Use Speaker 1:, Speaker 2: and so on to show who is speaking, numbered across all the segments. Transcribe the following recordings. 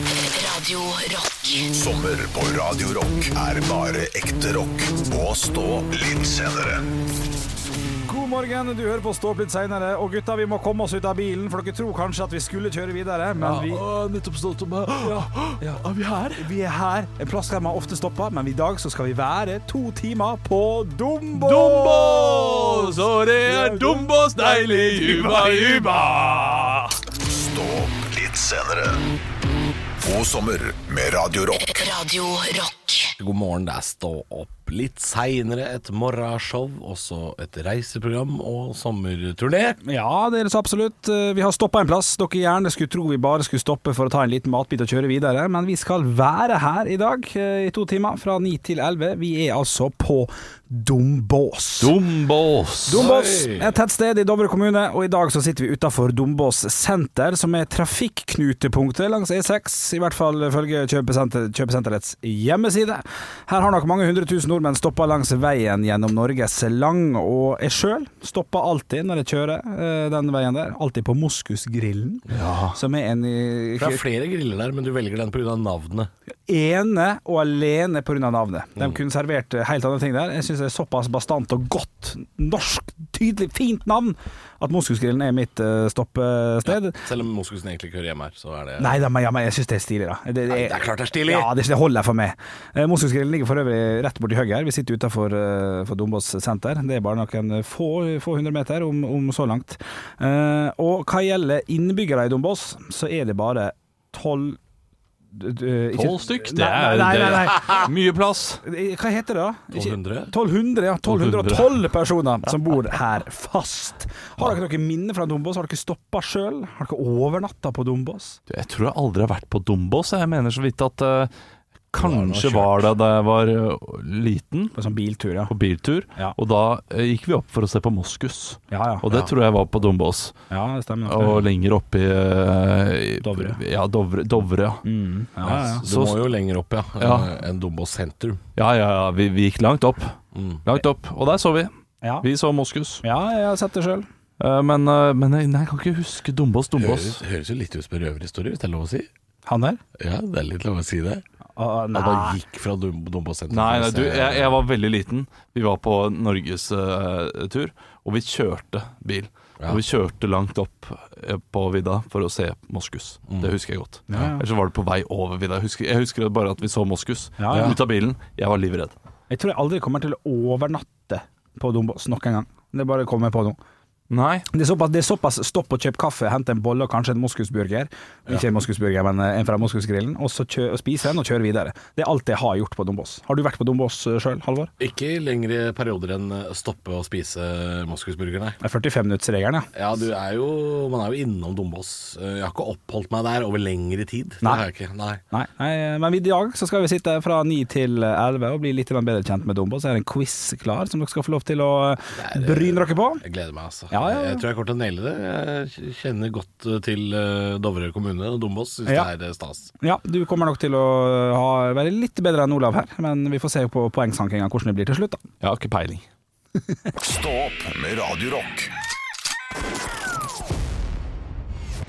Speaker 1: Radio Rock.
Speaker 2: Sommer på Radio Rock er bare ekte rock. Og stå litt senere.
Speaker 3: God morgen, du hører på Stå opp litt seinere. Og gutta, vi må komme oss ut av bilen, for dere tror kanskje at vi skulle kjøre videre, men vi,
Speaker 4: nettopp stått om ja.
Speaker 3: ja,
Speaker 4: Er vi her?
Speaker 3: vi er her. En plass der man ofte stopper, men i dag så skal vi være to timer på Dumbo!
Speaker 4: Dombås! Og det er Dombås deilig, juba, juba!
Speaker 2: Stå opp litt senere. God sommer med Radio Rock.
Speaker 1: Radio Rock.
Speaker 5: God morgen, det er Stå opp litt seinere, et morgenshow, også et reiseprogram og sommerturné.
Speaker 3: Ja, det er det så absolutt. Eh, Vi har stoppa en plass. Dere gjerne skulle tro vi bare skulle stoppe for å ta en liten matbit og kjøre videre, men vi skal være her i dag eh, i to timer, fra ni til elleve. Vi er altså på Dombås.
Speaker 4: Dombås!
Speaker 3: Dombås, et tettsted i Dovre kommune, og i dag så sitter vi utafor Dombås senter, som er trafikknutepunktet langs E6, i hvert fall ifølge kjøpesenter, kjøpesenterets hjemmeside. Her har nok mange hundre tusen nordmenn stoppa langs veien gjennom Norges lang, og jeg sjøl stopper alltid når jeg kjører eh, den veien der, alltid på Moskusgrillen, som er en i-
Speaker 5: Det er flere griller der, men du velger den pga. navnet.
Speaker 3: ene og alene pga. navnet. De
Speaker 5: Mm.
Speaker 3: kunne servert eh, helt andre ting der. Jeg syns det er såpass bastant og godt norsk, tydelig, fint navn at Moskusgrillen er mitt eh, stoppested.
Speaker 5: Selv om moskusen egentlig ikke hører hjemme her, så er det
Speaker 3: Nei da, men, ja, men jeg syns det er stilig, da. Det, det,
Speaker 5: det er klart det er stilig.
Speaker 3: Ja, det, det holder for meg. Eh, Moskusgrillen ligger for øvrig rett borti høyre her. Vi sitter utafor uh, for Dombås senter. Det er bare noen eh, få, få hundre meter, om, om så langt. Eh, og hva gjelder innbyggere i Dombås, så er det bare tolv eh,
Speaker 4: Tolv stykk, det
Speaker 3: Nei,
Speaker 4: er
Speaker 3: nei, nei, nei.
Speaker 4: mye plass.
Speaker 3: Eh, Hva heter det, da? Ikke-
Speaker 5: 1200?
Speaker 3: 1200, ja. 1212 personer som bor her fast. Har dere noen minner fra Dombås? Har dere stoppa sjøl? Har dere overnatta på Dombås?
Speaker 4: Du, Jeg tror jeg aldri har vært på Dombås. Jeg mener så vidt at eh, kanskje
Speaker 5: kjørt.
Speaker 4: var det da jeg var eh, liten,
Speaker 3: På en sånn biltur, ja.
Speaker 4: på biltur.
Speaker 3: Ja.
Speaker 4: Og da eh, gikk vi opp for å se på moskus.
Speaker 3: Ja, ja.
Speaker 4: Og det tror jeg var på Dombås.
Speaker 3: ja det stemmer. nok,
Speaker 4: Og
Speaker 3: det.
Speaker 4: lenger opp i, eh, i
Speaker 3: Dovre.
Speaker 4: Ja, Dovre, Dovre ja.
Speaker 3: Mm, ja, ja, ja.
Speaker 5: Du må jo lenger opp, ja,
Speaker 4: Ja.
Speaker 5: enn Dombås sentrum.
Speaker 4: Ja, ja, ja. Vi, vi gikk langt opp.
Speaker 5: Mm.
Speaker 4: Langt opp. Og der så vi.
Speaker 3: Ja.
Speaker 4: Vi så moskus.
Speaker 3: ja, jeg har sett det sjøl.
Speaker 4: Eh, Men, eh, men jeg- nei, jeg kan ikke huske Dombås,
Speaker 5: Høres,
Speaker 4: Dombås.
Speaker 5: høres jo litt ut som en røverhistorie, hvis det er lov å si.
Speaker 3: Han der?
Speaker 5: Ja, det er litt lov å si det.
Speaker 3: Å,
Speaker 5: At han
Speaker 3: nei.
Speaker 5: gikk fra Dom- Dombås sentrum for
Speaker 4: Nei, nei
Speaker 5: å
Speaker 4: du,
Speaker 5: se-
Speaker 4: jeg, jeg var veldig liten. Vi var på norgestur, og vi kjørte bil.
Speaker 5: Ja.
Speaker 4: Og vi kjørte langt opp eh, på vidda for å se moskus.
Speaker 5: Mm.
Speaker 4: Det husker jeg godt.
Speaker 3: Ja, ja.
Speaker 4: Eller så var det på vei over vidda. Jeg husker, jeg husker bare at vi så moskus
Speaker 3: Ja, ja.
Speaker 4: ut av bilen. Jeg var livredd.
Speaker 3: Jeg tror jeg aldri kommer til å overnatte på Dombås nok en gang. Det bare kommer jeg på nå.
Speaker 4: Nei.
Speaker 3: Det er såpass, det er såpass stopp og kjøp kaffe, hente en bolle og kanskje en moskusburger. Ikke en moskusburger, men eh, en fra moskusgrillen. Og så kjø, og spise den og kjøre videre. Det er alt jeg har gjort på Dombås. Har du vært på Dombås sjøl, Halvor?
Speaker 5: Ikke i lengre perioder enn å stoppe å spise moskusburger, nei.
Speaker 3: Det er 45-minuttsregelen, ja.
Speaker 5: Ja, du er jo, man er jo innom Dombås. Eh, Jeg har ikke oppholdt meg der over lengre tid. Det
Speaker 3: Nei.
Speaker 5: har jeg ikke. Nei.
Speaker 3: Nei, nei, eh, men i dag så skal vi sitte fra 9 til 11 og bli litt grann bedre kjent med Dombås. Det er en quiz klar som dere skal få lov til å bryne dere på.
Speaker 5: Jeg gleder meg, altså.
Speaker 3: Ja, ja, ja.
Speaker 5: Jeg tror jeg kommer til å naile det. Jeg kjenner godt eh, til eh, Dovre kommune og Dombås. Syns
Speaker 3: Ja.
Speaker 5: det er eh, stas.
Speaker 3: Ja, du kommer nok til å eh, ha, være litt bedre enn Olav her, men vi får se på poengsankinga hvordan det blir til slutt, da.
Speaker 4: Jeg har ikke peiling.
Speaker 2: Stå opp med Radio Rock.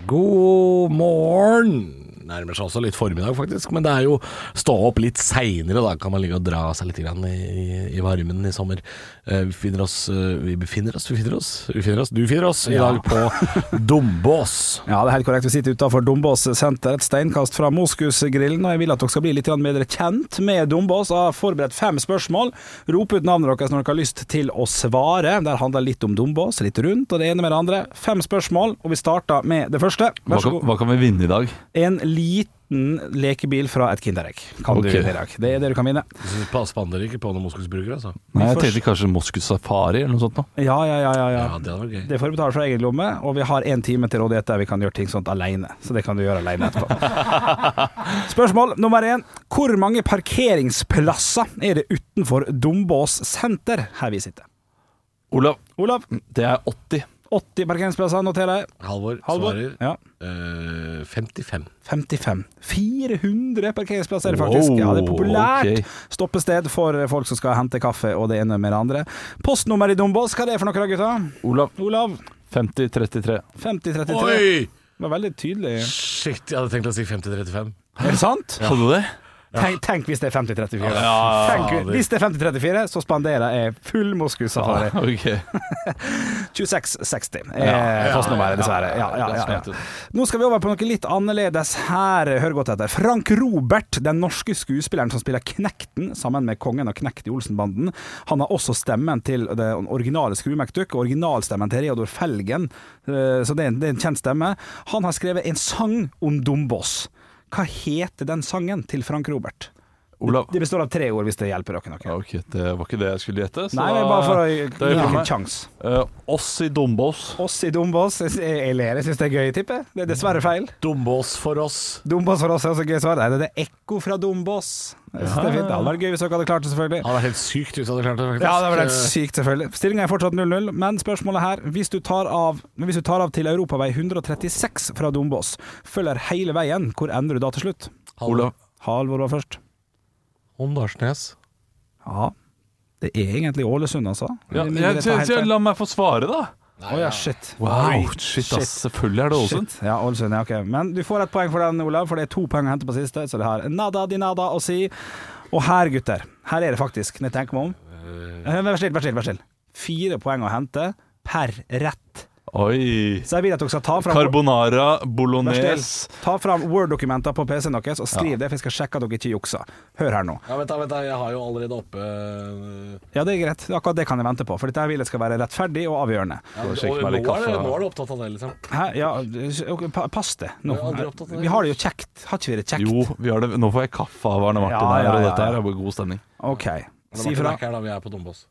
Speaker 5: God morgen! Nærmer seg også litt formiddag, faktisk. Men det er jo stå opp litt seinere, da kan man ligge og dra seg litt grann i, i- i varmen i sommer. Eh, Vi befinner oss eh, Vi befinner oss, vi befinner oss, vi befinner oss Du befinner oss i dag på Dombås.
Speaker 3: Ja, det er helt korrekt. Vi sitter utenfor Dombås senter, et steinkast fra Moskusgrillen, og jeg vil at dere skal bli litt grann bedre kjent med Dombås. Jeg har forberedt fem spørsmål. Rop ut navnet deres når dere har lyst til å svare. Det handler litt om Dombås, litt rundt, og det ene med det andre. Fem spørsmål, og vi starter med det første.
Speaker 4: Hva
Speaker 3: Vær så
Speaker 4: kan,
Speaker 3: god.
Speaker 4: hva kan vi vinne i dag?
Speaker 3: En liten lekebil fra et kinderegg kan
Speaker 4: Ok.
Speaker 3: du vinne i dag. Det er det du kan vinne.
Speaker 5: Så Pass på andre ikke på noen moskusburger, altså.
Speaker 4: Nei, jeg
Speaker 3: først-
Speaker 4: tenkte kanskje moskus safari eller noe sånt. Nå.
Speaker 3: Ja, ja, ja. ja, ja.
Speaker 5: Ja, det hadde vært gøy.
Speaker 3: Det får du betale fra egen lomme, og vi har én time til rådighet der vi kan gjøre ting sånt alene. Så det kan du gjøre alene etterpå. Spørsmål nummer én. Hvor mange parkeringsplasser er det utenfor Dombås senter, her vi sitter?
Speaker 4: Olav,
Speaker 3: Olav,
Speaker 4: Mm, det er 80.
Speaker 3: 80 parkeringsplasser, noterer jeg.
Speaker 5: Halvor,
Speaker 3: Halvor?
Speaker 5: svarer
Speaker 3: Ja.
Speaker 5: eh, 55.
Speaker 3: 55. 400 parkeringsplasser er det faktisk.
Speaker 4: Wow,
Speaker 3: ja, det er populært
Speaker 4: ok.
Speaker 3: stoppested for folk som skal hente kaffe og det ene med det andre. Postnummer i Dombås, hva er det for noe da, gutta?
Speaker 4: Olav,
Speaker 3: Olav,
Speaker 4: 50-33.
Speaker 3: 5033.
Speaker 5: Oi!
Speaker 3: Det var veldig tydelig.
Speaker 5: Shit, jeg hadde tenkt å si 50-35.
Speaker 3: Er det sant?
Speaker 4: Hadde du det?
Speaker 3: Tenk, tenk hvis det er 50-34.
Speaker 4: Ja,
Speaker 3: Tenk, hvis det er 50-34, så spanderer jeg full moskussafari.
Speaker 4: Ah, Ok.
Speaker 3: 2660 er Eh, postnummeret, dessverre. Ja, ja, ja, ja. Nå skal vi over på noe litt annerledes her. Hør godt etter. Frank Robert, den norske skuespilleren som spiller Knekten sammen med kongen og Knekt i Olsenbanden. Han har også stemmen til det originale Skrue McDuck, og originalstemmen til Reodor Felgen, Eh, så det er, en, det er en kjent stemme. Han har skrevet en sang om Dombås. Hva heter den sangen til Frank Robert?
Speaker 4: Olav.
Speaker 3: Det består av tre ord, hvis det hjelper dere noe.
Speaker 4: Ja, ok, det var ikke det jeg skulle gjette. så
Speaker 3: Nei, det er bare for å
Speaker 4: da
Speaker 3: gi
Speaker 4: gjør jeg
Speaker 3: dere
Speaker 4: meg.
Speaker 3: en sjanse.
Speaker 4: Eh, oss i Dombås.
Speaker 3: Oss i Dombås. Jeg, jeg ler, jeg syns det er gøy, tipper jeg. Det er dessverre feil.
Speaker 5: Dombås for oss.
Speaker 3: Dombås for oss er også gøy svar. Nei, det er det ekko fra Dombås. Jeg synes Det er fint. Det hadde vært gøy hvis dere hadde klart det, selvfølgelig.
Speaker 5: Hadde vært helt sykt hvis du hadde klart det. faktisk. Eh,
Speaker 3: Ja, det var helt sykt, selvfølgelig. Stillinga er fortsatt 0-0, men spørsmålet her hvis du, tar av, men hvis du tar av til europavei 136 fra Dombås, følger hele veien, hvor ender du da til slutt?
Speaker 4: Olav.
Speaker 3: Halvor var først.
Speaker 5: Åndalsnes.
Speaker 3: Ja. Det er egentlig Ålesund, altså.
Speaker 4: Ja,
Speaker 3: Men
Speaker 4: jeg,
Speaker 3: det tar helt feil.
Speaker 4: la meg få svare, da.
Speaker 3: Å ja, shit.
Speaker 4: Wow, shit,
Speaker 3: Shit.
Speaker 4: ass. Selvfølgelig er det Ålesund.
Speaker 3: Shit. Ja, Ålesund, ja, ok. Men du får et poeng for den, Olav, for det er to poeng å hente på siste, så det har nada di nada å si. Og her, gutter, her er det faktisk, når jeg tenker meg om Eh, Vær snill, vær snill, vær snill. Fire poeng å hente per rett.
Speaker 4: Oi.
Speaker 3: Så jeg vil at dere skal ta fram
Speaker 4: Carbonara,
Speaker 3: Vær snill.
Speaker 4: bolognese
Speaker 3: Ta fram Word-dokumenter på PC-en deres og skriv det, for jeg skal sjekke at dere ikke jukser. Hør her nå.
Speaker 5: Ja, vent da, vent da, jeg har jo allerede oppe øh,
Speaker 3: Ja, det er greit. Akkurat det kan jeg vente på, for dette her vil jeg skal være rettferdig og avgjørende.
Speaker 5: ja,
Speaker 4: må
Speaker 5: og, nå,
Speaker 4: sjekke meg
Speaker 5: er det,
Speaker 4: litt kaffe, da.
Speaker 5: nå er du opptatt av det, liksom.
Speaker 3: Hæ? Ja, ok, pa- pass det nå.
Speaker 5: Jeg er aldri opptatt av det.
Speaker 3: Vi har det jo kjekt. Har ikke vi det kjekt?
Speaker 4: Jo, vi har det. nå får jeg kaffe av Arne Martin
Speaker 3: Ja, ja,
Speaker 4: her, og
Speaker 3: ja,
Speaker 4: dette her
Speaker 3: ja.
Speaker 4: er bare god stemning.
Speaker 3: OK.
Speaker 5: Det
Speaker 3: Si
Speaker 5: var
Speaker 3: fra.
Speaker 5: ikke her da, vi er på Dombås.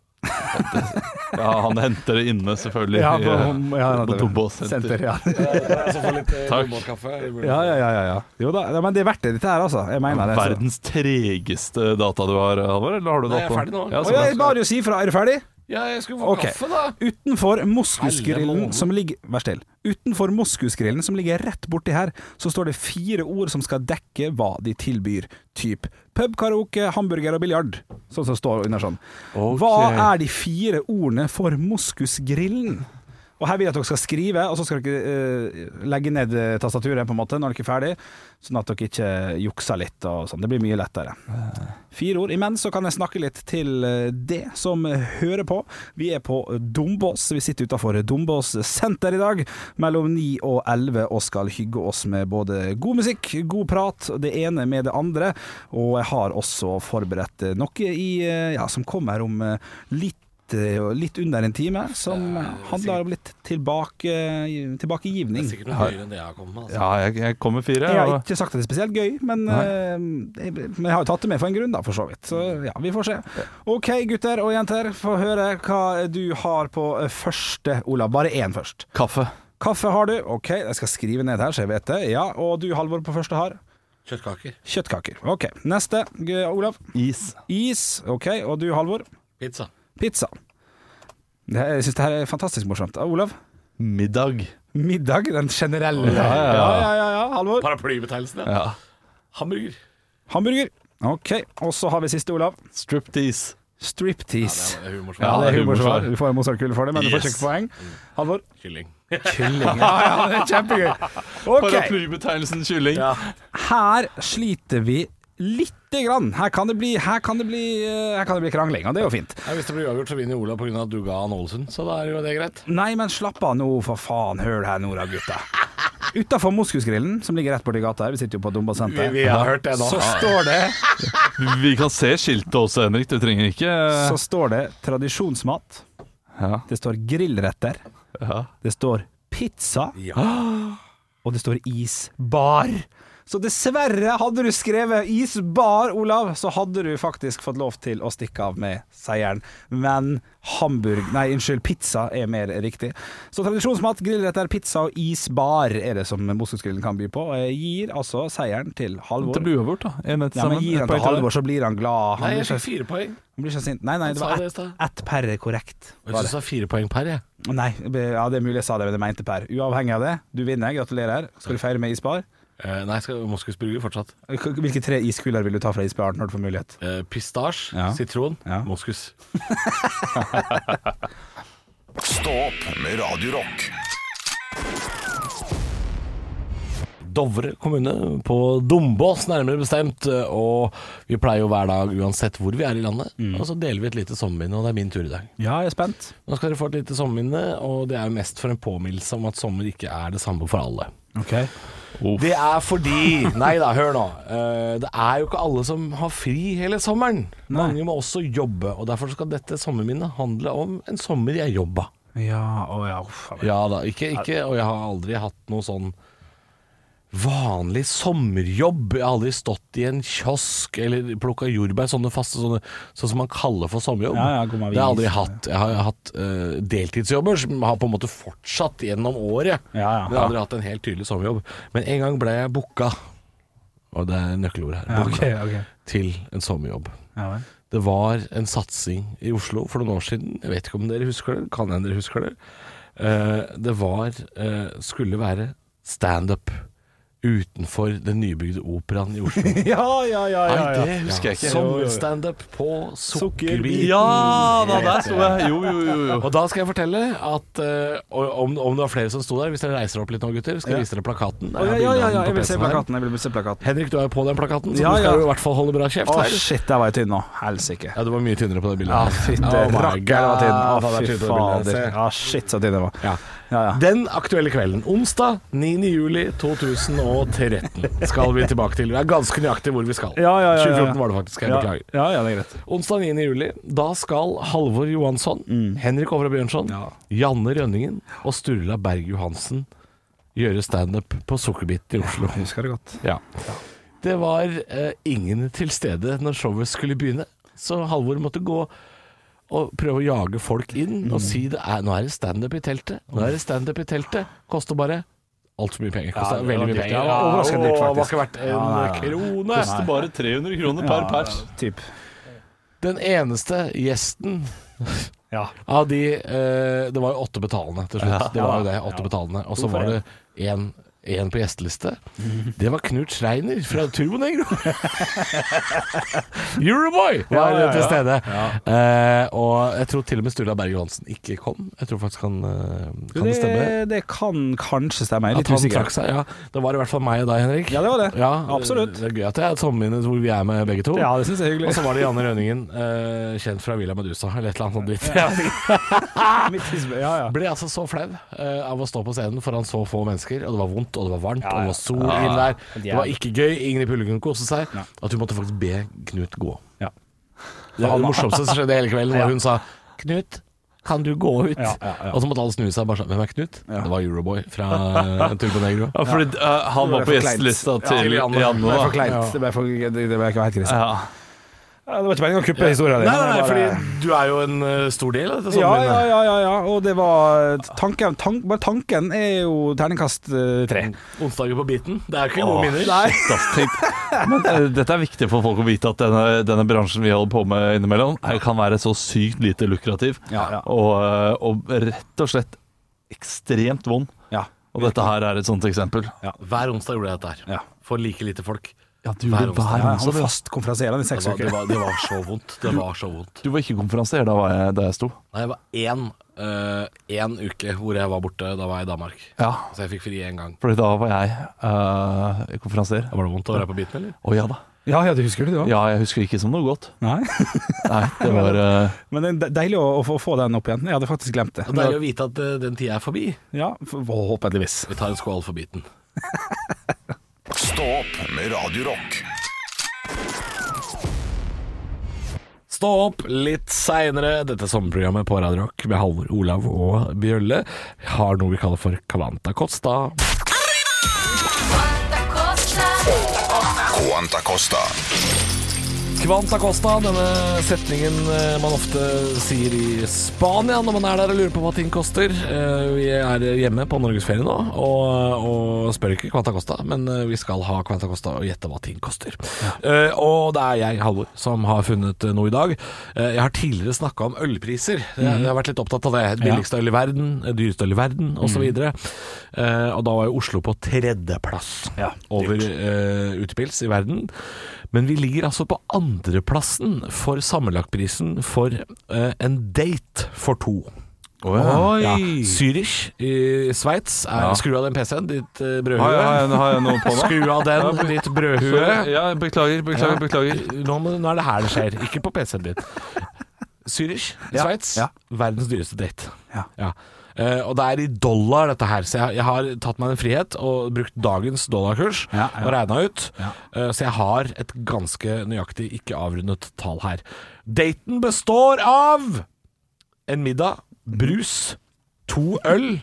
Speaker 4: Ja, Han henter det inne, selvfølgelig. i, eh, på Dombås senter.
Speaker 3: ja.
Speaker 5: Så få litt eh,
Speaker 4: Takk.
Speaker 5: Dombås-kaffe.
Speaker 3: Ja, ja, ja, ja, ja. Jo da, ja, men det er verdt det, dette her, altså. Jeg mener det. så-
Speaker 4: Verdens tregeste data du har, Halvor? Eller har du
Speaker 5: Nei,
Speaker 4: data?
Speaker 5: jeg er ferdig nå.
Speaker 3: Å,
Speaker 4: Ja, så
Speaker 3: ja,
Speaker 4: bra.
Speaker 3: jeg ba deg jo si fra. Er du ferdig?
Speaker 5: Ja, jeg skulle få
Speaker 3: Ok.
Speaker 5: kaffe, da.
Speaker 3: Utenfor moskusgrillen
Speaker 5: Helvete.
Speaker 3: som ligger Vær still. Utenfor moskusgrillen som ligger rett borti her, så står det fire ord som skal dekke hva de tilbyr. Typ pub, karaoke, hamburger og biljard. Sånn som står under sånn. Hva er de fire ordene for moskusgrillen? Og her vil jeg at dere skal skrive, og så skal dere eh, legge ned eh, tastaturet på en måte når dere er ferdig, sånn at dere ikke jukser litt og sånn. Det blir mye lettere. Fire ord. Imens så kan jeg snakke litt til eh, det som hører på. Vi er på Dombås. Vi sitter utafor Dombås senter i dag mellom 9 og 11 og skal hygge oss med både god musikk, god prat, det ene med det andre. Og jeg har også forberedt eh, noe i, eh, ja, som kommer om eh, litt eh, og litt under en time, som handler om litt tilbake,
Speaker 5: Det
Speaker 3: tilbakegivning.
Speaker 5: er sikkert noe høyere enn det jeg har kommet med. Altså.
Speaker 4: Ja, jeg, jeg kommer fire.
Speaker 3: Jeg har
Speaker 4: og-
Speaker 3: ikke sagt at det er spesielt gøy, men, eh, jeg, men jeg har jo tatt det med for en grunn, da, for så vidt. Så ja, vi får se. OK, gutter og jenter, få høre hva du har på eh, første, Olav. Bare én først.
Speaker 4: Kaffe.
Speaker 3: Kaffe har du. OK, jeg skal skrive ned her, så jeg vet det. Ja, Og du, Halvor, på første har?
Speaker 5: Kjøttkaker.
Speaker 3: Kjøttkaker. OK. Neste, G- Olav.
Speaker 4: Is.
Speaker 3: Is. OK. Og du, Halvor?
Speaker 5: Pizza.
Speaker 3: Pizza. Det, her- jeg syns det her er fantastisk morsomt. Ah, Olav?
Speaker 4: Middag.
Speaker 3: Middag, den generelle. Ja, ja, ja. Halvor.
Speaker 5: Paraplybetegnelsen, ja.
Speaker 4: Ja.
Speaker 5: Hamburger.
Speaker 3: Hamburger. Ok, og så har vi siste, Olav.
Speaker 4: Striptease.
Speaker 3: Striptease.
Speaker 5: Det er humorsvar.
Speaker 4: Ja,
Speaker 3: Ja, det er humorsvar.
Speaker 4: humorsvar.
Speaker 3: Du får en Mozart-kule for det, men du får
Speaker 4: Yes.
Speaker 3: ikke poeng. Halvor?
Speaker 5: Kylling.
Speaker 3: Kylling. Ja, ja, det er kjempegøy. Ok,
Speaker 4: Paraplybetegnelsen kylling.
Speaker 3: her sliter vi lite grann. Her kan det bli, her kan det bli, eh, her kan det bli krangling, og det er jo fint.
Speaker 5: Ja, hvis det blir uavgjort, så vinner Olav pga. at du ga han Ålesund, så da er jo det greit.
Speaker 3: Nei, men slapp av nå, for faen. Hør her nå, da, gutta. Utafor Moskusgrillen, som ligger rett borti gata her, vi sitter jo på Dumba senter,
Speaker 5: har hørt det
Speaker 3: så står det
Speaker 4: Vi kan se skiltet også, Henrik. Du trenger ikke
Speaker 3: så står det tradisjonsmat.
Speaker 4: Ja.
Speaker 3: Det står grillretter.
Speaker 4: Ja.
Speaker 3: Det står pizza.
Speaker 5: Ja.
Speaker 3: Og det står isbar. Så dessverre, hadde du skrevet isbar, Olav, så hadde du faktisk fått lov til å stikke av med seieren. Men hamburg... Nei, unnskyld, pizza er mer riktig. Så tradisjonsmat, grillretter, pizza og isbar er det som Moskusgrillen kan by på. Og jeg gir altså seieren til
Speaker 4: Det
Speaker 3: Halvor.
Speaker 4: blir uavgjort, da. En etter
Speaker 3: Ja, men
Speaker 4: sammen.
Speaker 3: gir
Speaker 4: Et
Speaker 3: han
Speaker 4: poeng
Speaker 3: til
Speaker 4: til deg.
Speaker 3: Halvor, så blir han glad.
Speaker 5: Nei,
Speaker 3: Han
Speaker 5: jeg
Speaker 3: blir
Speaker 5: fikk
Speaker 3: så,
Speaker 5: fire poeng.
Speaker 3: han blir så sint. Nei, nei, det
Speaker 5: sa
Speaker 3: var
Speaker 5: det i
Speaker 3: ett
Speaker 5: stad.
Speaker 3: ett per er korrekt.
Speaker 5: Jeg syns det er fire poeng per, jeg.
Speaker 3: Nei, ja, det er mulig jeg sa det, men jeg mente Per. Uavhengig av det, du vinner. Gratulerer. Skal du feire med isbar?
Speaker 5: Eh, nei, skal moskusburger fortsatt.
Speaker 3: Hvilke tre iskuler vil du ta fra isbaren når du får mulighet?
Speaker 5: Eh, pistasje,
Speaker 3: Ja.
Speaker 5: sitron,
Speaker 3: Ja.
Speaker 5: moskus.
Speaker 2: Stå opp med Radio Rock.
Speaker 5: Dovre kommune, på Dombås nærmere bestemt. Og vi pleier jo hver dag, uansett hvor vi er i landet, og så deler vi et lite sommerminne, og det er min tur i dag.
Speaker 3: Ja, jeg er spent.
Speaker 5: Nå skal dere få et lite sommerminne, og det er jo mest for en påminnelse om at sommer ikke er det samme for alle.
Speaker 3: Ok.
Speaker 5: Det er fordi Nei da, hør nå. Eh, det er jo ikke alle som har fri hele sommeren.
Speaker 3: Nei.
Speaker 5: Mange må også jobbe, og derfor skal dette sommerminnet handle om en sommer jeg jobba.
Speaker 3: Ja, å ja, uff. a meg.
Speaker 5: Ja da, ikke, ikke Og jeg har aldri hatt noe sånn vanlig sommerjobb. Jeg har aldri stått i en kiosk eller plukka jordbær, sånne faste sånne, sånn som man kaller for sommerjobb.
Speaker 3: Ja, ja, god med
Speaker 5: det har jeg aldri
Speaker 3: avis.
Speaker 5: hatt. Jeg har hatt eh, deltidsjobber som har på en måte fortsatt gjennom året.
Speaker 3: Ja, ja.
Speaker 5: Men jeg har aldri hatt en helt tydelig sommerjobb. Men en gang ble jeg booka, og det er nøkkelordet her,
Speaker 3: Ja,
Speaker 5: booka
Speaker 3: ok, ok.
Speaker 5: til en sommerjobb.
Speaker 3: Ja, vel.
Speaker 5: Det var en satsing i Oslo for noen år siden. Jeg vet ikke om dere husker det. Kan hende dere husker det. Eh, det var eh, skulle være standup utenfor den nybygde operaen i Oslo.
Speaker 3: ja, ja, ja, ja,
Speaker 4: Nei,
Speaker 3: ja.
Speaker 4: det husker jeg ikke.
Speaker 5: Sommerstandup på Sukkerbit.
Speaker 3: Sukkerbit.
Speaker 4: Ja da, der sto jeg. Jo, jo, jo. jo.
Speaker 5: Og da skal jeg fortelle at eh, om, om det var flere som sto der Hvis dere reiser dere opp litt nå, gutter, skal jeg vise dere plakaten.
Speaker 3: Å, ja, ja, ja, ja, jeg vil se
Speaker 5: PC-en her.
Speaker 3: plakaten. Jeg vil se plakaten.
Speaker 5: Henrik, du er jo på den plakaten, så
Speaker 3: Ja,
Speaker 5: du skal
Speaker 3: ja.
Speaker 5: jo i hvert fall holde bra
Speaker 3: Å,
Speaker 5: kjeft. her.
Speaker 3: shit, der var jeg tynn nå. Helsike.
Speaker 5: Ja, du var mye tynnere på det bildet.
Speaker 3: Ja,
Speaker 5: her.
Speaker 3: fytte
Speaker 5: Oh my
Speaker 3: rakker, det var tynn.
Speaker 5: God,
Speaker 3: Å,
Speaker 5: det var
Speaker 3: fy
Speaker 5: tynn på det bildet.
Speaker 3: fader.
Speaker 5: Se.
Speaker 3: Ja, shit, så tynn jeg var.
Speaker 5: Ja.
Speaker 3: Ja, ja.
Speaker 5: Den aktuelle kvelden, onsdag 9. juli 2013, skal vi tilbake til. Det er ganske nøyaktig hvor vi skal.
Speaker 3: Ja, ja, ja, ja.
Speaker 5: 2014 var det faktisk, jeg
Speaker 3: Ja,
Speaker 5: beklager.
Speaker 3: ja, ja, det er greit.
Speaker 5: Onsdag 9. juli, da skal Halvor Johansson, Henrik Overhaug Bjørnson,
Speaker 3: Mm. Ja.
Speaker 5: Janne Rønningen og Sturla Berg Johansen gjøre standup på Sukkerbit i Oslo.
Speaker 3: Jeg husker det godt.
Speaker 5: Ja. Det var eh, ingen til stede når showet skulle begynne, så Halvor måtte gå og prøve å jage folk inn
Speaker 3: Mm.
Speaker 5: og si det er, nå er det standup i teltet. Nå er det standup i teltet. Koster bare altfor mye penger. Koster
Speaker 3: Ja, det var
Speaker 5: veldig mye
Speaker 3: dyrt.
Speaker 5: penger.
Speaker 3: Ja, det var overraskende dyrt,
Speaker 5: Åh, det var
Speaker 3: faktisk.
Speaker 5: ikke verdt en
Speaker 3: Ja, nei, nei.
Speaker 5: krone.
Speaker 4: Koster bare 300 kroner per pers.
Speaker 3: Typ.
Speaker 5: Den eneste gjesten
Speaker 3: Ja.
Speaker 5: av de eh, Det var jo åtte betalende til slutt. Det var jo det, åtte betalende. Og så
Speaker 3: for
Speaker 5: var det én. En på gjesteliste. Det var Knut Schreiner fra Turbo Negro. Euroboy var
Speaker 3: Ja, ja, ja.
Speaker 5: til stede. Eh, og jeg tror til og med Sturla Berg Johansen ikke kom. Jeg tror faktisk han eh, Kan det stemme?
Speaker 3: Det, det kan kanskje stemme. Jeg er
Speaker 5: At
Speaker 3: litt
Speaker 5: han
Speaker 3: usikker.
Speaker 5: trakk seg? Ja. Det var i hvert fall meg og deg, Henrik.
Speaker 3: Ja, det var det.
Speaker 5: Ja,
Speaker 3: Absolutt.
Speaker 5: Det er gøy at det er et sommerminne hvor vi er med begge to.
Speaker 3: Ja, det syns jeg er
Speaker 5: Og så
Speaker 3: hyggelig.
Speaker 5: var det Janne Rønningen, eh, kjent fra Villa Medusa, eller et eller annet sånt dritt. Jeg
Speaker 3: Mitt tidsbe- Ja, ja.
Speaker 5: ble altså så flau eh, av å stå på scenen foran så få mennesker, og det var vondt, og det var varmt,
Speaker 3: Ja, ja.
Speaker 5: og det var sol inn der. Det var ikke gøy, ingen i publikum koste seg,
Speaker 3: Nei.
Speaker 5: at hun måtte faktisk be Knut gå.
Speaker 3: Ja.
Speaker 5: Det var det morsomste som skjedde hele kvelden,
Speaker 3: Ja.
Speaker 5: da hun sa Knut, kan du gå ut?
Speaker 3: Ja, ja, ja.
Speaker 5: Og så måtte alle snu seg og bare sånn Hvem er Knut?
Speaker 3: Ja.
Speaker 5: Det var Euroboy fra eh, Turbo Negro.
Speaker 4: Ja, fordi eh, han
Speaker 3: Det ble
Speaker 4: var på
Speaker 3: for kleint.
Speaker 4: gjestelista til
Speaker 5: til Janne.
Speaker 3: Det
Speaker 4: Janne.
Speaker 3: ble for
Speaker 4: da.
Speaker 3: kleint. Det ble for, det det ble ikke helt krise.
Speaker 4: Ja.
Speaker 3: Det var ikke meningen å kuppe historien din.
Speaker 5: Nei, nei, nei,
Speaker 3: Det var bare- Sånn
Speaker 5: fordi du er jo en eh, stor del av dette
Speaker 3: ja,
Speaker 5: sommerminnet.
Speaker 3: ja, ja, ja, ja, og det var tanken, tank, Bare tanken er jo terningkast eh, tre.
Speaker 5: Onsdager på biten. Det er ikke
Speaker 4: Åh,
Speaker 5: gode minner.
Speaker 4: shit, ass, tenk. Men eh, dette er viktig for folk å vite at denne, denne bransjen vi holder på med innimellom, eh, kan være så sykt lite lukrativ
Speaker 3: Ja, ja.
Speaker 4: Og, eh, og rett og slett ekstremt vond.
Speaker 3: Ja.
Speaker 4: Og dette her er et sånt eksempel.
Speaker 5: Hver onsdag gjorde jeg dette her.
Speaker 3: Ja.
Speaker 5: For like lite folk.
Speaker 4: Ja, du
Speaker 5: Hver
Speaker 4: gjorde
Speaker 5: onsdag.
Speaker 4: hver
Speaker 3: Ja, han
Speaker 4: onsdag.
Speaker 3: var fast konferansierende i
Speaker 5: Det
Speaker 3: seks
Speaker 5: var, det,
Speaker 3: uker.
Speaker 5: var, det var så vondt. Det var så vondt.
Speaker 4: Du var ikke konferansier da, var jeg, da jeg sto.
Speaker 5: Nei, det var én, eh, én uke hvor jeg var borte. Da var jeg i Danmark.
Speaker 4: Ja,
Speaker 5: Så jeg fikk fri én gang.
Speaker 4: fordi da var jeg eh, konferansier.
Speaker 5: Var det vondt å være på biten, eller?
Speaker 4: Å ja da.
Speaker 3: Ja, ja, du husker det, du òg?
Speaker 4: Ja, jeg husker ikke som noe godt.
Speaker 3: Nei.
Speaker 4: Nei, det var eh,
Speaker 3: Men det er de- deilig å, å få- få den opp igjen. Jeg hadde faktisk glemt det.
Speaker 5: Det er deilig å vite at eh, den tida er forbi.
Speaker 3: Ja, Forhåpentligvis.
Speaker 5: Vi tar en skål for biten.
Speaker 2: Stå opp med Radio Rock.
Speaker 5: Stå opp litt seinere. Dette sommerprogrammet på Radio Rock med Halvor, Olav og Bjølle har noe vi kaller for Kalanta Kotstad.
Speaker 2: Quanta Costa.
Speaker 5: Kvanta Costa, denne setningen eh, man ofte sier i Spania når man er der og lurer på hva ting koster. Eh, Vi er hjemme på norgesferie nå og, og spør ikke Kvanta Costa, men eh, vi skal ha Kvanta Costa og gjette hva ting koster. Eh, Og det er jeg, Halvor, som har funnet eh, noe i dag. Eh, Jeg har tidligere snakka om ølpriser. Jeg jeg har vært litt opptatt av det. Billigste øl i verden, eh, dyreste øl i verden osv. Og, Eh, da var jo Oslo på tredjeplass
Speaker 3: Ja,
Speaker 5: over eh, utepils i verden. Men vi ligger altså på andreplassen for sammenlagtprisen for eh, en date for to.
Speaker 4: Oi!
Speaker 5: Ja. Zürich i Sveits. er-
Speaker 4: Ja.
Speaker 5: Skru av den PC-en, ditt eh,
Speaker 4: Har jeg, har,
Speaker 5: brødhue.
Speaker 4: jeg, har jeg noe på nå?
Speaker 5: Skru av den, ditt brødhue.
Speaker 4: Ja, beklager, beklager, beklager.
Speaker 5: Nå, må- nå er det her det skjer, ikke på PC-en din. Zürich,
Speaker 3: Ja.
Speaker 5: Sveits.
Speaker 3: Ja.
Speaker 5: Verdens dyreste date.
Speaker 3: Ja.
Speaker 5: Eh, og det er i dollar, dette her. Så jeg, jeg har tatt meg en frihet og brukt dagens dollarkurs
Speaker 3: Ja, ja.
Speaker 5: og regna ut.
Speaker 3: Ja.
Speaker 5: Eh, så jeg har et ganske nøyaktig ikke avrundet tall her. Daten består av en middag, brus, to øl,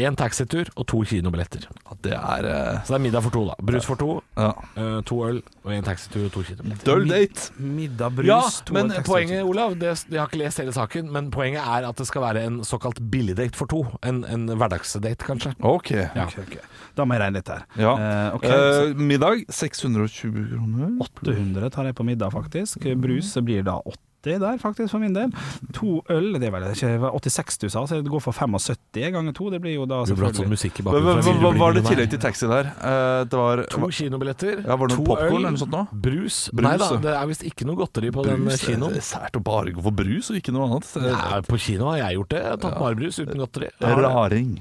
Speaker 5: én taxitur og to kinobilletter.
Speaker 4: Ja, Det er eh,
Speaker 5: Så det er middag for to, da. Brus for to,
Speaker 4: ja.
Speaker 5: eh, to øl og én taxitur og to kinobilletter.
Speaker 4: Dull date.
Speaker 3: Middag, brus
Speaker 5: Ja,
Speaker 3: to
Speaker 5: men
Speaker 3: og tekst-
Speaker 5: poenget, Olav det, Jeg har ikke lest hele saken, men poenget er at det skal være en såkalt billigdate for to. En, en hverdagsdate, kanskje.
Speaker 4: Ok.
Speaker 3: Ok, ok. Da må jeg regne litt her.
Speaker 4: Ja.
Speaker 3: Eh, ok,
Speaker 4: Eh, middag 620 kroner.
Speaker 3: 800 tar jeg på middag, faktisk.
Speaker 5: Mm.
Speaker 3: Brus blir da 80 der, faktisk, for min del. To øl, det er vel ikke det var 86 du sa, så det går for 75 ganger to. Det blir jo da selvfølgelig
Speaker 5: sånn musikk i
Speaker 4: Hva, hva, hva, hva var det i tillegg til taxi der? Eh, det var
Speaker 5: To kinobilletter,
Speaker 4: ja, var det
Speaker 5: to
Speaker 4: noe
Speaker 5: øl,
Speaker 4: popcorn eller noe sånt nå?
Speaker 5: brus.
Speaker 4: Brus,
Speaker 5: Nei da,
Speaker 4: ja.
Speaker 5: det er visst ikke noe godteri på den
Speaker 4: Brus, eh,
Speaker 5: kinoen.
Speaker 4: Det er sært å bare gå for brus og ikke noe annet. Det
Speaker 5: Nei, på kino har jeg gjort det. Jeg har Tatt bare brus uten godteri.
Speaker 4: er Raring.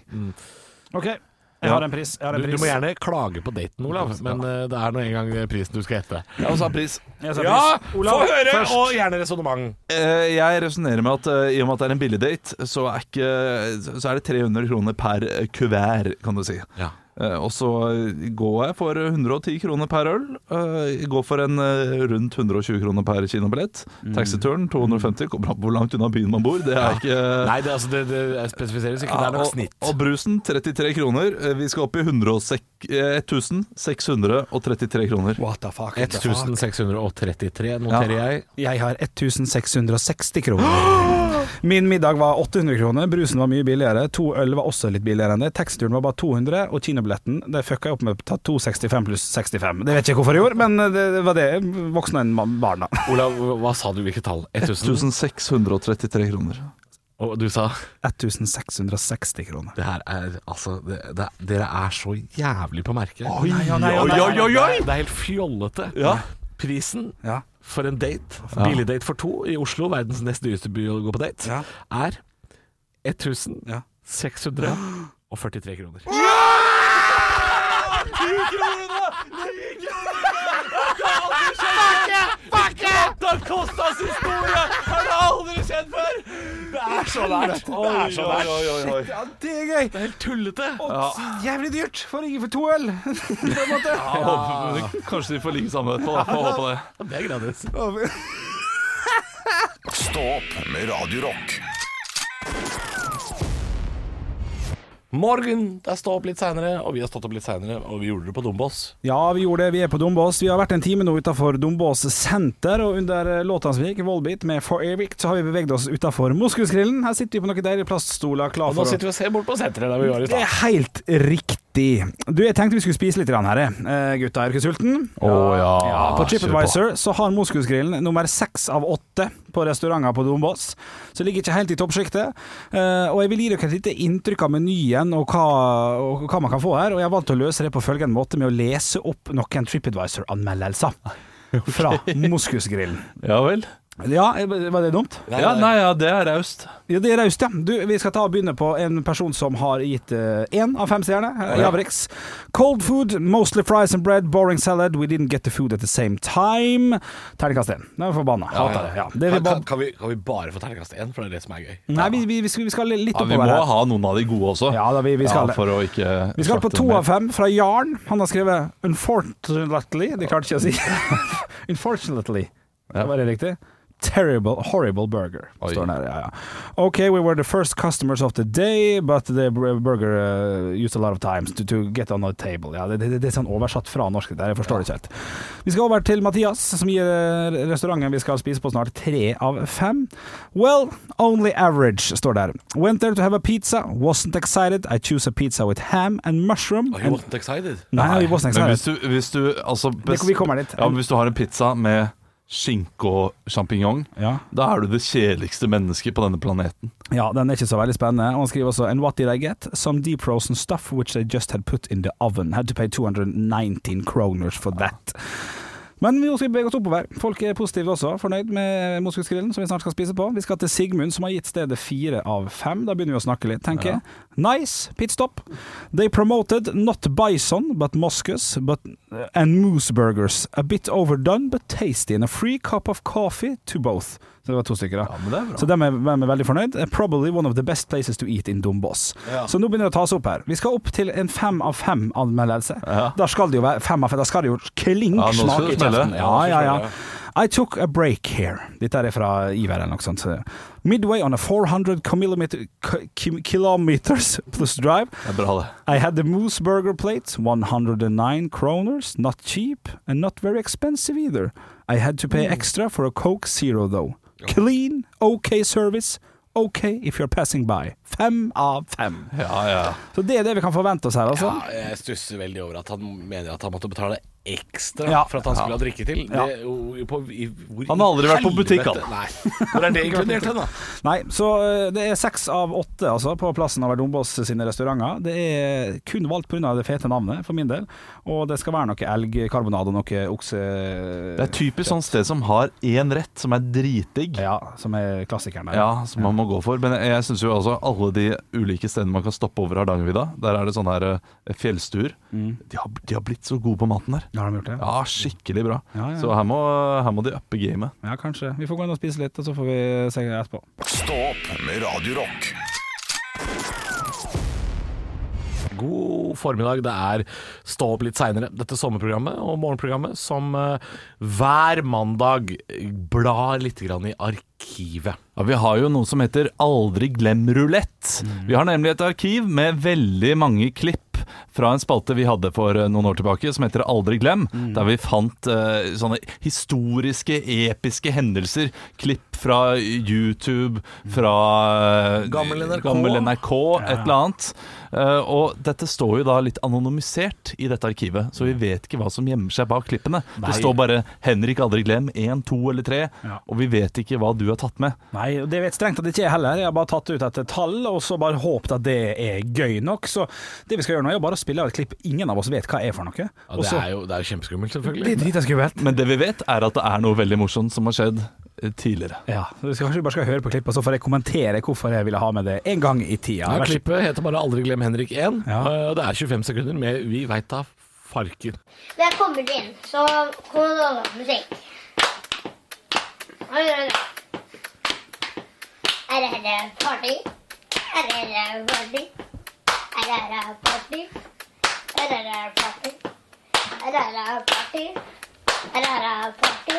Speaker 3: OK, jeg
Speaker 4: Ja.
Speaker 3: har en pris. Jeg har
Speaker 5: Du,
Speaker 3: en
Speaker 5: du
Speaker 3: pris.
Speaker 5: må gjerne klage på daten, Olav, men eh, det er nå en gang prisen du skal hete.
Speaker 4: Ja, og så er pris.
Speaker 3: Jeg sa pris. Olav, først.
Speaker 5: og gjerne resonnement.
Speaker 4: Eh, Jeg resonnerer med at eh, i og med at det er en billigdate, så, er ikke, så er det 300 kroner per eh, kuvert, kan du si.
Speaker 5: Ja.
Speaker 4: Eh, Og så går jeg for 110 kroner per øl. eh, Går for en eh, rundt 120 kroner per kinobillett. Taxituren 250. Kommer an på hvor langt unna byen man bor. Det er ikke
Speaker 5: Nei, det, altså, det, det spesifiseres ikke. Det er
Speaker 4: Ja,
Speaker 5: nok
Speaker 4: og,
Speaker 5: snitt.
Speaker 4: og brusen 33 kroner. Eh, Vi skal opp i 106 eh, 1633 kroner.
Speaker 3: What the fuck?
Speaker 5: 1633 noterer
Speaker 4: Ja.
Speaker 5: jeg.
Speaker 3: Jeg har 1660 kroner. Min middag var 800 kroner, brusen var mye billigere, to øl var også litt billigere enn det, taxituren var bare 200, og kinobilletten det fucka jeg opp med å ta 265 pluss 65. Det vet jeg ikke hvorfor jeg gjorde, men det var det voksne enn man- barna.
Speaker 5: Olav, hva sa du? Hvilket tall? 1000?
Speaker 4: 1633 kroner.
Speaker 5: Og du sa
Speaker 3: 1660 kroner.
Speaker 5: Det her er altså det, det, Dere er så jævlig på merket.
Speaker 3: Oi, ja, nei, ja,
Speaker 5: Det
Speaker 3: nei.
Speaker 5: er-
Speaker 4: Oi, oi, oi!
Speaker 5: Det er helt fjollete.
Speaker 4: Ja.
Speaker 5: Prisen
Speaker 3: Ja.
Speaker 5: for en date, billigdate for to i Oslo, verdens nest dyreste by å gå på date,
Speaker 3: Ja.
Speaker 5: er
Speaker 3: Ja.
Speaker 5: 1643 kroner.
Speaker 4: Da Costas historie har jeg aldri kjent før! Det er så nært. Det er så nært. Oi, oi, oi, oi.
Speaker 3: Det er gøy!
Speaker 5: Det er helt tullete!
Speaker 3: Jævlig dyrt for ikke for to øl!
Speaker 4: Jeg håper, kanskje de får ligge sammen etterpå. da. Får håpe det.
Speaker 5: Det er gratis.
Speaker 2: Stå opp med Radio Rock.
Speaker 5: Morgen, det er stå opp litt seinere, og vi har stått opp litt seinere, og vi gjorde det på Dombås.
Speaker 3: Ja, vi gjorde det. Vi er på Dombås. Vi har vært en time nå utafor Dombås senter, og under låta som gikk, Volbeat med For Eric, så har vi beveget oss utafor Moskusgrillen. Her sitter vi på noen deilige plaststoler, klar
Speaker 5: Og nå
Speaker 3: for å
Speaker 5: sitter vi og ser bort på senteret der vi var i
Speaker 3: Det
Speaker 5: stad.
Speaker 3: er helt riktig. Du, jeg tenkte vi skulle spise litt grann her, jeg. Eh, Gutta, er dere sulten?
Speaker 5: ja.
Speaker 3: Ja, på TripAdvisor så har Moskusgrillen nummer seks av åtte på restauranter på Dombås. Så ligger ikke helt i toppsjiktet. Eh, og jeg vil gi dere et lite inntrykk av menyen og hva, og hva man kan få her. Og jeg har valgt å løse det på følgende måte med å lese opp noen TripAdvisor-anmeldelser. Fra Moskusgrillen.
Speaker 4: Ja vel.
Speaker 3: Ja, eh, var det dumt?
Speaker 4: Ja, nei, ja, det er raust.
Speaker 3: Ja, det er raust, ja. Du, vi skal ta og begynne på en person som har gitt én av fem stjerner. eh, Javrix. Cold food, mostly fries and bread, boring salad. We didn't get the food at the same time. Terningkast én. Den er forbanna. Hater det. Ja. det vi
Speaker 5: Kan,
Speaker 3: bare...
Speaker 5: kan, kan, vi, kan vi bare få terningkast én, for det er det som er gøy?
Speaker 3: Nei, vi, vi, vi, skal, vi skal litt
Speaker 4: Ja, vi
Speaker 3: oppover
Speaker 4: må
Speaker 3: her.
Speaker 4: ha noen av de gode også.
Speaker 3: Ja, da, vi, vi skal
Speaker 4: Ja,
Speaker 3: det.
Speaker 4: for å ikke
Speaker 3: Vi skal på
Speaker 4: slakte
Speaker 3: to
Speaker 4: dem
Speaker 3: av fem fra Jarn. Han har skrevet 'unfortunately'. Det klarte ikke jeg å si. 'Unfortunately'. Var det riktig? Terrible, horrible burger.
Speaker 4: Oi.
Speaker 3: Står den her, ja, ja. Ok, we were the first customers of the day, but the br- burger uh, used a lot of times to, to get on the table. Ja, det, det, det er sånn oversatt fra norsk, det der, jeg forstår det ikke helt. Vi skal over til Mathias, som gir eh, restauranten vi skal spise på snart tre av fem. Well, only average, står der. Went there to have a pizza, wasn't excited, I choose a pizza with ham and mushroom.
Speaker 5: Are you
Speaker 3: And,
Speaker 5: not excited?
Speaker 3: nei, we wasn't
Speaker 4: Men hvis
Speaker 3: excited.
Speaker 4: du, hvis du altså best-
Speaker 3: vi kommer dit.
Speaker 4: Ja, men hvis du har en pizza med skinke og sjampinjong,
Speaker 3: Ja.
Speaker 4: da er du det kjedeligste mennesket på denne planeten.
Speaker 3: Ja, den er ikke så veldig spennende. Og han skriver også And what did I get? Some deep frozen stuff which they just had put in the oven. Had to pay 219 kroners for that. Men vi skal bevege oss oppover. Folk er positive også, fornøyd med moskusgrillen som vi snart skal spise på. Vi skal til Sigmund, som har gitt stedet fire av fem. Da begynner vi å snakke litt, tenker jeg. Nice, pitstop. They promoted not bison, but moskus but, eh, and moose burgers. A bit overdone, but tasty. And a free cup of coffee to both. Så det var to stykker, da.
Speaker 4: Ja, men det er bra.
Speaker 3: Så dem er, dem er veldig fornøyd. Eh, Probably one of the best places to eat in Dombås. Så nå begynner det å ta seg opp her. Vi skal opp til en fem av fem-anmeldelse. Da skal det jo være fem av fem. Da skal det jo klink
Speaker 4: Ja, nå skal
Speaker 3: smake
Speaker 4: det
Speaker 3: i
Speaker 4: smelle.
Speaker 3: kjeften. Ja, ja, ja. I took a break here. Dette er fra Iver eller noe sånt. Midway on a 400 kilometer, ki- kilometers plus drive
Speaker 4: Det er bra, det.
Speaker 3: I had the Moose Burger plate, 109 kroners, not cheap and not very expensive either. I had to
Speaker 4: Mm.
Speaker 3: pay extra for a Coke Zero though. Clean, ok service, ok if you're passing by. Fem av fem.
Speaker 4: Ja, ja.
Speaker 3: Så det er det vi kan forvente oss her, altså.
Speaker 5: Ja,
Speaker 4: Sånn.
Speaker 5: jeg stusser veldig over at han mener at han måtte betale ekstra
Speaker 3: Ja.
Speaker 5: for at han skulle ha drikke til.
Speaker 3: Ja.
Speaker 5: Det, jo, på, i, hvor,
Speaker 4: Han har aldri vært på butikk, han.
Speaker 5: Nei. Hvor er det inkludert hen, da?
Speaker 3: Nei, så eh, det er seks av åtte altså, på plassen over Dombås sine restauranter. Det er kun valgt pga. det fete navnet, for min del. Og det skal være noe elgkarbonade og noe okse...
Speaker 4: Det er typisk sånn sted som har én rett, som er dritdigg.
Speaker 3: Ja, som er klassikeren der.
Speaker 4: Ja, som man må gå for. Men jeg syns jo altså alle de ulike stedene man kan stoppe over Hardangervidda, der er det sånn her eh, fjellstuer.
Speaker 3: Mm.
Speaker 4: De, har, de har blitt så gode på maten her.
Speaker 3: Har de gjort det?
Speaker 4: Ja, skikkelig bra.
Speaker 3: Ja, ja, ja.
Speaker 4: Så her må, her må de uppe gamet.
Speaker 3: Ja, kanskje. Vi får gå inn og spise litt, og så får vi se etterpå.
Speaker 2: Stå opp med Radio Rock.
Speaker 5: God formiddag. Det er Stå opp litt seinere, dette sommerprogrammet og morgenprogrammet som eh, hver mandag blar litt grann i arkivet.
Speaker 4: Ja, Vi har jo noe som heter Aldri glem rulett. Vi har nemlig et arkiv med veldig mange klipp fra en spalte vi hadde for eh, noen år tilbake som heter Aldri glem, der vi fant eh, sånne historiske, episke hendelser. Klipp fra YouTube, fra eh,
Speaker 5: Gammel NRK.
Speaker 4: gammel NRK et eller annet. Eh, og dette står jo da litt anonymisert i dette arkivet, så vi vet ikke hva som gjemmer seg bak klippene. Det står bare 'Henrik aldri glem' 1, 2 eller 3,
Speaker 3: Ja.
Speaker 4: og vi vet ikke hva du har tatt med.
Speaker 3: Nei, og det vet strengt at det ikke er heller. Jeg har bare tatt ut et tall, og så bare håpet at det er gøy nok. Så det vi skal gjøre nå, er jo bare å spille av et klipp ingen av oss vet hva er for noe.
Speaker 5: Ja,
Speaker 3: Og
Speaker 5: det,
Speaker 3: så-
Speaker 5: er jo, det er jo kjempeskummelt,
Speaker 3: Det er
Speaker 5: selvfølgelig.
Speaker 3: dritskummelt.
Speaker 4: Men det vi vet er at det er noe veldig morsomt som har skjedd eh, tidligere.
Speaker 3: Ja, så vi skal, kanskje vi bare skal høre på klippet, så får jeg kommentere hvorfor jeg ville ha med det en gang i tida.
Speaker 5: Ja,
Speaker 3: Vær så-
Speaker 5: klippet heter bare 'Aldri glem Henrik 1'.
Speaker 3: Ja.
Speaker 5: eh, og Det er 25 sekunder med 'Vi veit da farken'.
Speaker 6: Når jeg kommer inn, så kommer det over musikk. Oi, oi, oi. Er det her party? Er det her party? Er det her party? Er det her party? Er det her party? Er det her party? Er det her party?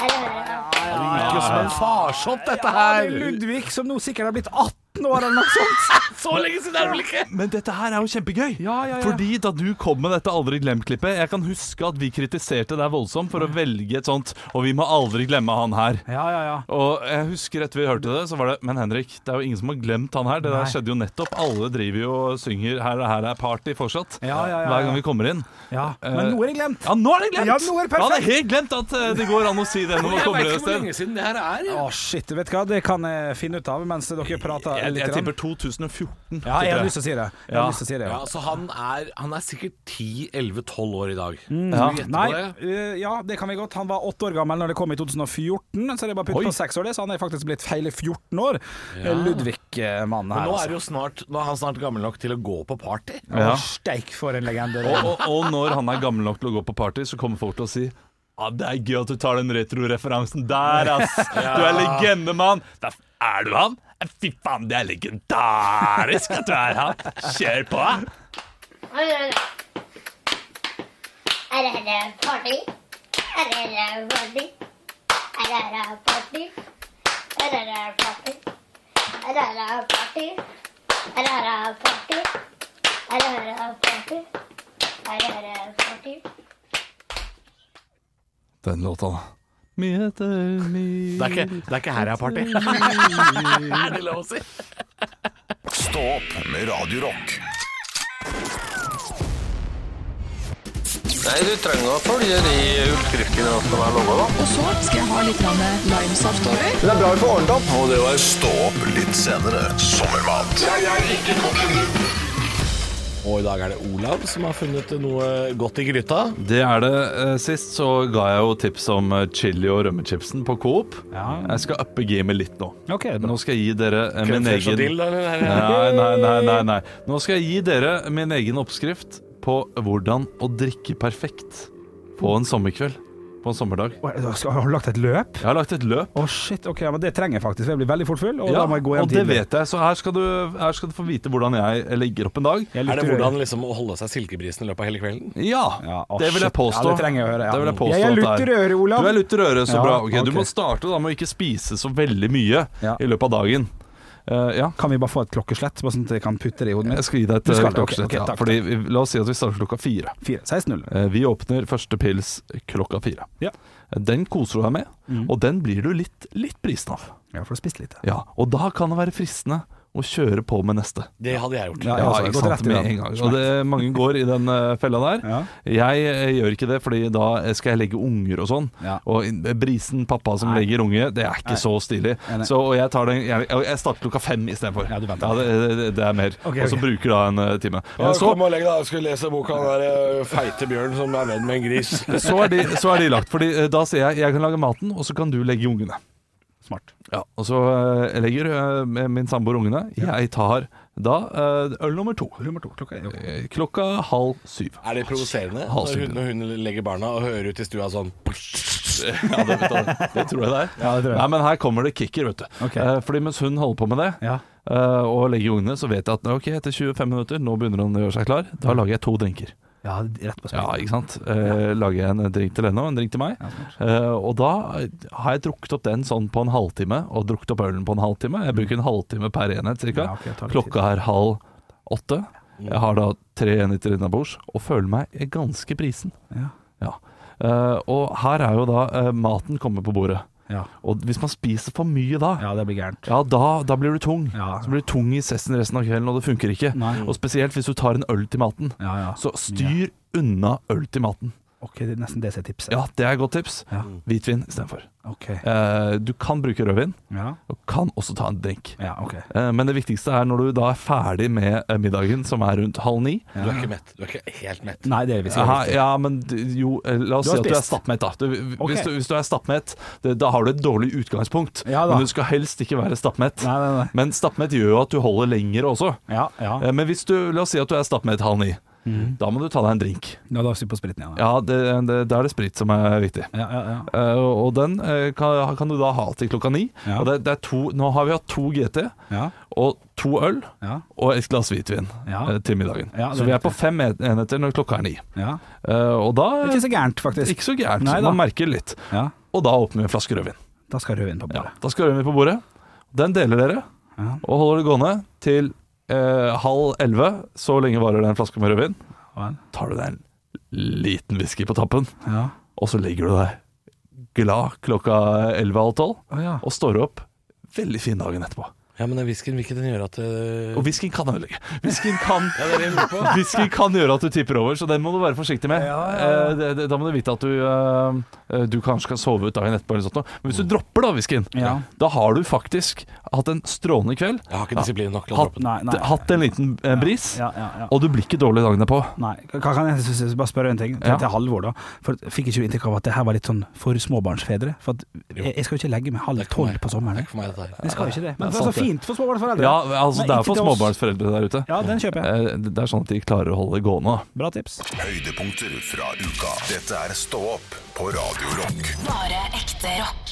Speaker 5: Det er jo som en farsopp, dette
Speaker 3: Ja, det er
Speaker 5: her!
Speaker 3: Ludvig, som nå sikkert har blitt 18 år eller noe sånt.
Speaker 5: Så lenge siden er det vel ikke!
Speaker 4: Men dette her er jo kjempegøy!
Speaker 3: Ja, ja, ja.
Speaker 4: Fordi da du kom med dette Aldri glem-klippet Jeg kan huske at vi kritiserte deg voldsomt for å velge et sånt Og vi må aldri glemme han her.
Speaker 3: Ja, ja, ja.
Speaker 4: Og jeg husker etter vi hørte det, så var det Men Henrik, det er jo ingen som har glemt han her. Det der
Speaker 3: Nei.
Speaker 4: skjedde jo nettopp. Alle driver jo og synger 'Her, her er party' fortsatt.
Speaker 3: Ja, ja, ja,
Speaker 4: Hver
Speaker 3: ja.
Speaker 4: gang vi kommer inn.
Speaker 3: ja. Men nå er det glemt.
Speaker 4: Ja, nå er det glemt!
Speaker 3: Ja, nå er det perfekt.
Speaker 4: Ja, det er helt glemt at eh, det går an å si det når man
Speaker 5: Jeg
Speaker 4: kommer
Speaker 5: veit
Speaker 4: inn
Speaker 5: ikke
Speaker 4: et
Speaker 5: hvor
Speaker 4: sted.
Speaker 5: lenge siden det her er.
Speaker 3: Å, shit. Vet du hva, det kan jeg finne ut av mens dere prater
Speaker 4: Jeg,
Speaker 3: litt.
Speaker 4: jeg
Speaker 3: grann.
Speaker 4: tipper 2014.
Speaker 3: Ja, jeg
Speaker 4: tipper
Speaker 3: har lyst til å si det. Jeg har
Speaker 4: Ja.
Speaker 3: lyst til å si det, ja.
Speaker 5: Ja, så han er, han er sikkert 10-11-12 år i dag.
Speaker 3: Mm.
Speaker 4: Ja.
Speaker 5: Skal vi gjette
Speaker 3: Nei,
Speaker 5: på det?
Speaker 3: eh, ja, det kan vi godt. Han var åtte år gammel når det kom i 2014, så det er bare putt
Speaker 4: Oi.
Speaker 3: på seks år, det. Så han er faktisk blitt feile 14 år. Eh, Ludvig-mannen
Speaker 5: Men
Speaker 3: her.
Speaker 5: nå er,
Speaker 3: altså.
Speaker 5: det jo snart, nå er han snart gammel nok til å gå på party.
Speaker 4: Ja.
Speaker 3: Å, Steik for en legende.
Speaker 4: Og, og, og når han er gammel nok til å gå på party, så kommer folk til å si Ja, det er gøy at du tar den retro-referansen der, ass. Du er legende, mann. Da f- Er du han? Eh, Fy faen, det er legendarisk at du er han. Kjør på.
Speaker 6: Oi, oi, oi. Er det her party? Er det her party? Er det her party? Er det her party? Er det her party? Er det her party? Er det her party? Er det her party?
Speaker 4: Den låta, da. Mye etter
Speaker 5: Det
Speaker 4: mye
Speaker 5: er ikke, det er ikke her jeg har party. er det lov å si?
Speaker 2: Stå opp med Radio Rock.
Speaker 7: Nei, du trenger å følge de utskriftene som er laga, da.
Speaker 8: Og så skal jeg ha litt grann limesaft over.
Speaker 7: Det er bra vi får ordnet opp. Og det var
Speaker 2: Stå opp litt senere. Sommermat
Speaker 7: Jeg er ikke kokken.
Speaker 5: Og i dag er det Olav som har funnet noe godt i gryta.
Speaker 4: Det er det. Eh, Sist så ga jeg jo tips om eh, chili og rømmechipsen på Coop.
Speaker 3: Ja.
Speaker 4: Jeg skal uppe gamet litt nå.
Speaker 3: Ok, det er bra.
Speaker 4: Nå skal jeg gi dere eh, min
Speaker 5: Creme fraiche og dill,
Speaker 4: egen
Speaker 5: da, eller?
Speaker 4: Nei, nei, nei, nei, nei. Nå skal jeg gi dere min egen oppskrift på hvordan å drikke perfekt på en sommerkveld. På en sommerdag.
Speaker 3: Oi, skal- Har du lagt et løp?
Speaker 4: Jeg har lagt et løp.
Speaker 3: Å shit, ok, ja, men det trenger jeg faktisk. for Jeg blir veldig fort full, og
Speaker 4: Ja,
Speaker 3: da må jeg gå hjem
Speaker 4: og det vet jeg, så her skal, du, her skal du få vite hvordan jeg legger opp en dag.
Speaker 3: Jeg
Speaker 5: Er det
Speaker 3: lukter
Speaker 5: hvordan
Speaker 3: røyk.
Speaker 5: liksom å holde seg silkebrisen i løpet av hele kvelden?
Speaker 4: Ja,
Speaker 3: Ja, å,
Speaker 4: det vil jeg
Speaker 3: shit.
Speaker 4: påstå.
Speaker 3: Ja, det trenger jeg å høre. Ja.
Speaker 4: Det vil jeg påstå
Speaker 3: Jeg er
Speaker 4: at det
Speaker 3: lutt i røret, Olav.
Speaker 4: Du er lutt i røret, så
Speaker 3: Ja,
Speaker 4: bra. Ok,
Speaker 3: ok.
Speaker 4: Du må starte da med å ikke spise så veldig mye
Speaker 3: Ja.
Speaker 4: i løpet av dagen. Eh, ja.
Speaker 3: Kan vi bare få et klokkeslett, bare sånn at jeg kan putte det i hodet
Speaker 4: Jeg
Speaker 3: mitt?
Speaker 4: skal gi deg et
Speaker 3: Du skal det,
Speaker 4: eh,
Speaker 3: ok,
Speaker 4: klokkeslett.
Speaker 3: ok,
Speaker 4: ja,
Speaker 3: takk,
Speaker 4: fordi vi- la oss si at vi starter klokka fire.
Speaker 3: 4. 16.00.
Speaker 4: Eh, Vi åpner første pils klokka fire.
Speaker 3: Ja. Mm.
Speaker 4: Den koser du deg med, og den blir du litt, litt brisen av.
Speaker 3: Ja, for du har spist litt.
Speaker 4: Ja, og da kan det være fristende å kjøre på med neste. altså,
Speaker 5: Det hadde jeg gjort.
Speaker 3: Ja, jeg også. Jeg har gått rett i
Speaker 4: Med
Speaker 3: den.
Speaker 4: en gang. Og det, mange går i den eh, fella der.
Speaker 3: Ja.
Speaker 4: Jeg eh, gjør ikke det, fordi da skal jeg legge unger og sånn.
Speaker 3: Ja.
Speaker 4: Og in- brisen pappa som legger unge, det er ikke så stilig.
Speaker 3: nei.
Speaker 4: Så og jeg, tar den, jeg, jeg starter klokka fem istedenfor.
Speaker 3: Ja, du venter.
Speaker 4: det, det, det er mer.
Speaker 3: Ok,
Speaker 4: Og så
Speaker 3: ok.
Speaker 4: bruker da en eh, time. Men så,
Speaker 5: Kom og legg deg, jeg skulle lese boka om den der eh, feite bjørn som er venn med en gris.
Speaker 4: så, er de, så er de lagt. Fordi eh, da sier jeg jeg kan lage maten, og så kan du legge ungene.
Speaker 3: Smart.
Speaker 4: Ja, og så eh, legger eh, min samboer ungene. Jeg tar da eh, øl nummer to.
Speaker 3: Nummer to. Klokka er jo
Speaker 4: Eh, Klokka halv syv.
Speaker 5: Er det provoserende
Speaker 4: Halvsyk.
Speaker 5: når hun, når hun legger barna og hører ut i stua sånn
Speaker 4: Ja, det, vet jeg, det tror jeg det er.
Speaker 3: Ja, det tror jeg.
Speaker 4: Nei, men her kommer det kicker, vet du.
Speaker 3: Ok.
Speaker 4: Eh, Fordi mens hun holder på med det
Speaker 3: Ja.
Speaker 4: eh, og legger ungene, så vet jeg at ok, etter 25 minutter, nå begynner han å gjøre seg klar. Da lager jeg to drinker.
Speaker 3: ja, rett på
Speaker 4: Ja,
Speaker 3: spillet.
Speaker 4: ikke sant? Eh, Lager jeg en drink til henne og en drink til meg. Eh, og da har jeg drukket opp den sånn på en halvtime, og drukket opp ølen på en halvtime. Jeg bruker en halvtime per enhet
Speaker 3: Mm. Ja,
Speaker 4: cirka.
Speaker 3: Mm. ok, det tar litt
Speaker 4: Klokka er halv åtte. Jeg har da tre enheter innabords, og føler meg ganske brisen.
Speaker 3: Ja.
Speaker 4: Ja. Eh, og her er jo da eh, maten kommer på bordet.
Speaker 3: Ja.
Speaker 4: Og hvis man spiser for mye da, ja,
Speaker 3: ja, det blir gærent.
Speaker 4: da, da blir du tung.
Speaker 3: Ja.
Speaker 4: Så blir du tung i sessen resten av kvelden, og det funker ikke.
Speaker 3: Nei.
Speaker 4: Og spesielt hvis du tar en øl til maten.
Speaker 3: Ja, ja.
Speaker 4: Så styr unna øl til maten.
Speaker 3: Ok, det er nesten det som er tipset.
Speaker 4: Ja, det er et godt tips.
Speaker 3: Ja.
Speaker 4: Hvitvin istedenfor.
Speaker 3: Ok.
Speaker 4: Eh, du kan bruke rødvin,
Speaker 3: Ja.
Speaker 4: og kan også ta en drink.
Speaker 3: Ja, ok.
Speaker 4: Eh, men det viktigste er når du da er ferdig med eh, middagen, som er rundt halv ni.
Speaker 5: Du er ikke mett. Du er ikke helt mett.
Speaker 3: Nei, det er vi
Speaker 4: Aha,
Speaker 3: sikkert.
Speaker 4: ja, men d- jo, eh, la oss
Speaker 3: Du
Speaker 4: si
Speaker 3: har
Speaker 4: at du er
Speaker 3: spist.
Speaker 4: stappmett, da. Du,
Speaker 3: Ok.
Speaker 4: hvis, du, hvis du er stappmett, det, da har du et dårlig utgangspunkt.
Speaker 3: Ja da.
Speaker 4: men du skal helst ikke være stappmett.
Speaker 3: Nei, nei, nei.
Speaker 4: Men stappmett gjør jo at du holder lenger også.
Speaker 3: Ja, ja. Mhm.
Speaker 4: Eh, Men hvis du, la oss si at du er stappmett halv ni. Da må du ta deg en drink.
Speaker 3: Ja, da er vi på spriten igjen. da.
Speaker 4: Ja, det, det, Da er det sprit som er viktig.
Speaker 3: Ja, ja, ja.
Speaker 4: Eh, og og den eh, kan, kan du da ha til klokka ni.
Speaker 3: Ja.
Speaker 4: Og det, det er to, nå har vi hatt to GT
Speaker 3: Ja,
Speaker 4: og to øl
Speaker 3: ja,
Speaker 4: og et glass hvitvin
Speaker 3: Ja.
Speaker 4: eh, til middagen.
Speaker 3: Ja, det
Speaker 4: så
Speaker 3: er
Speaker 4: vi er
Speaker 3: riktig.
Speaker 4: på fem en- enheter når klokka er ni.
Speaker 3: ja.
Speaker 4: Eh, og da
Speaker 3: Det er ikke så gærent, faktisk.
Speaker 4: Ikke så gærent.
Speaker 3: Nei da.
Speaker 4: Man merker litt.
Speaker 3: Ja,
Speaker 4: Og da åpner vi en flaske rødvin.
Speaker 3: da skal rødvin på bordet.
Speaker 4: Da skal rødvin på bordet. Den deler dere,
Speaker 3: Ja.
Speaker 4: og holder det gående til eh, halv elleve. Så lenge varer den flaska med rødvin.
Speaker 3: Vel.
Speaker 4: Tar du deg en liten whisky på tappen,
Speaker 3: Ja.
Speaker 4: og så legger du deg glad klokka elleve-halv tolv,
Speaker 3: Å, ja.
Speaker 4: og står opp. Veldig fin dagen etterpå.
Speaker 5: Ja, men den whiskyen vil ikke den gjøre at øh,
Speaker 4: Og whiskyen kan ødelegge. Whiskyen kan,
Speaker 5: det er det jeg lurer på.
Speaker 4: whiskyen kan gjøre at du tipper over, så den må du være forsiktig med. Eh, det- det- Da må du vite at du, eh, du kanskje kan sove ut dagen etterpå. Eller sånt, noe. Men hvis du dropper da whiskyen,
Speaker 3: Ja.
Speaker 4: da har du faktisk hatt en strålende kveld.
Speaker 5: Jeg har ikke disiplin nok til å
Speaker 4: Hatt,
Speaker 5: droppe den.
Speaker 3: Nei, nei.
Speaker 4: hatt en liten eh, bris,
Speaker 3: Ja, ja, ja.
Speaker 4: og du blir ikke dårlig dagen derpå.
Speaker 3: Nei, kan kan jeg s- s- bare spørre en ting til,
Speaker 4: Ja.
Speaker 3: til Halvor, da? For Fikk ikke du inntrykk av at det her var litt sånn for småbarnsfedre? For at jeg, jeg skal jo ikke legge meg halv
Speaker 5: Det er ikke for
Speaker 3: tolv på
Speaker 5: meg. Det
Speaker 3: sommeren.
Speaker 5: er ikke for meg, dette her.
Speaker 3: Jeg skal jo ikke det. Men det
Speaker 4: Ja,
Speaker 3: er
Speaker 4: sant
Speaker 3: så
Speaker 4: det.
Speaker 3: fint for småbarnsforeldre.
Speaker 4: Ja, altså
Speaker 3: Men
Speaker 4: Det er
Speaker 3: ikke
Speaker 4: for
Speaker 3: til oss.
Speaker 4: småbarnsforeldre der ute.
Speaker 3: Ja, den kjøper jeg.
Speaker 4: Eh, Det er sånn at de klarer å holde det gående. da.
Speaker 3: Bra tips.
Speaker 2: Høydepunkter fra uka. Dette er Stå opp på Radio Rock.
Speaker 1: Bare ekte rock.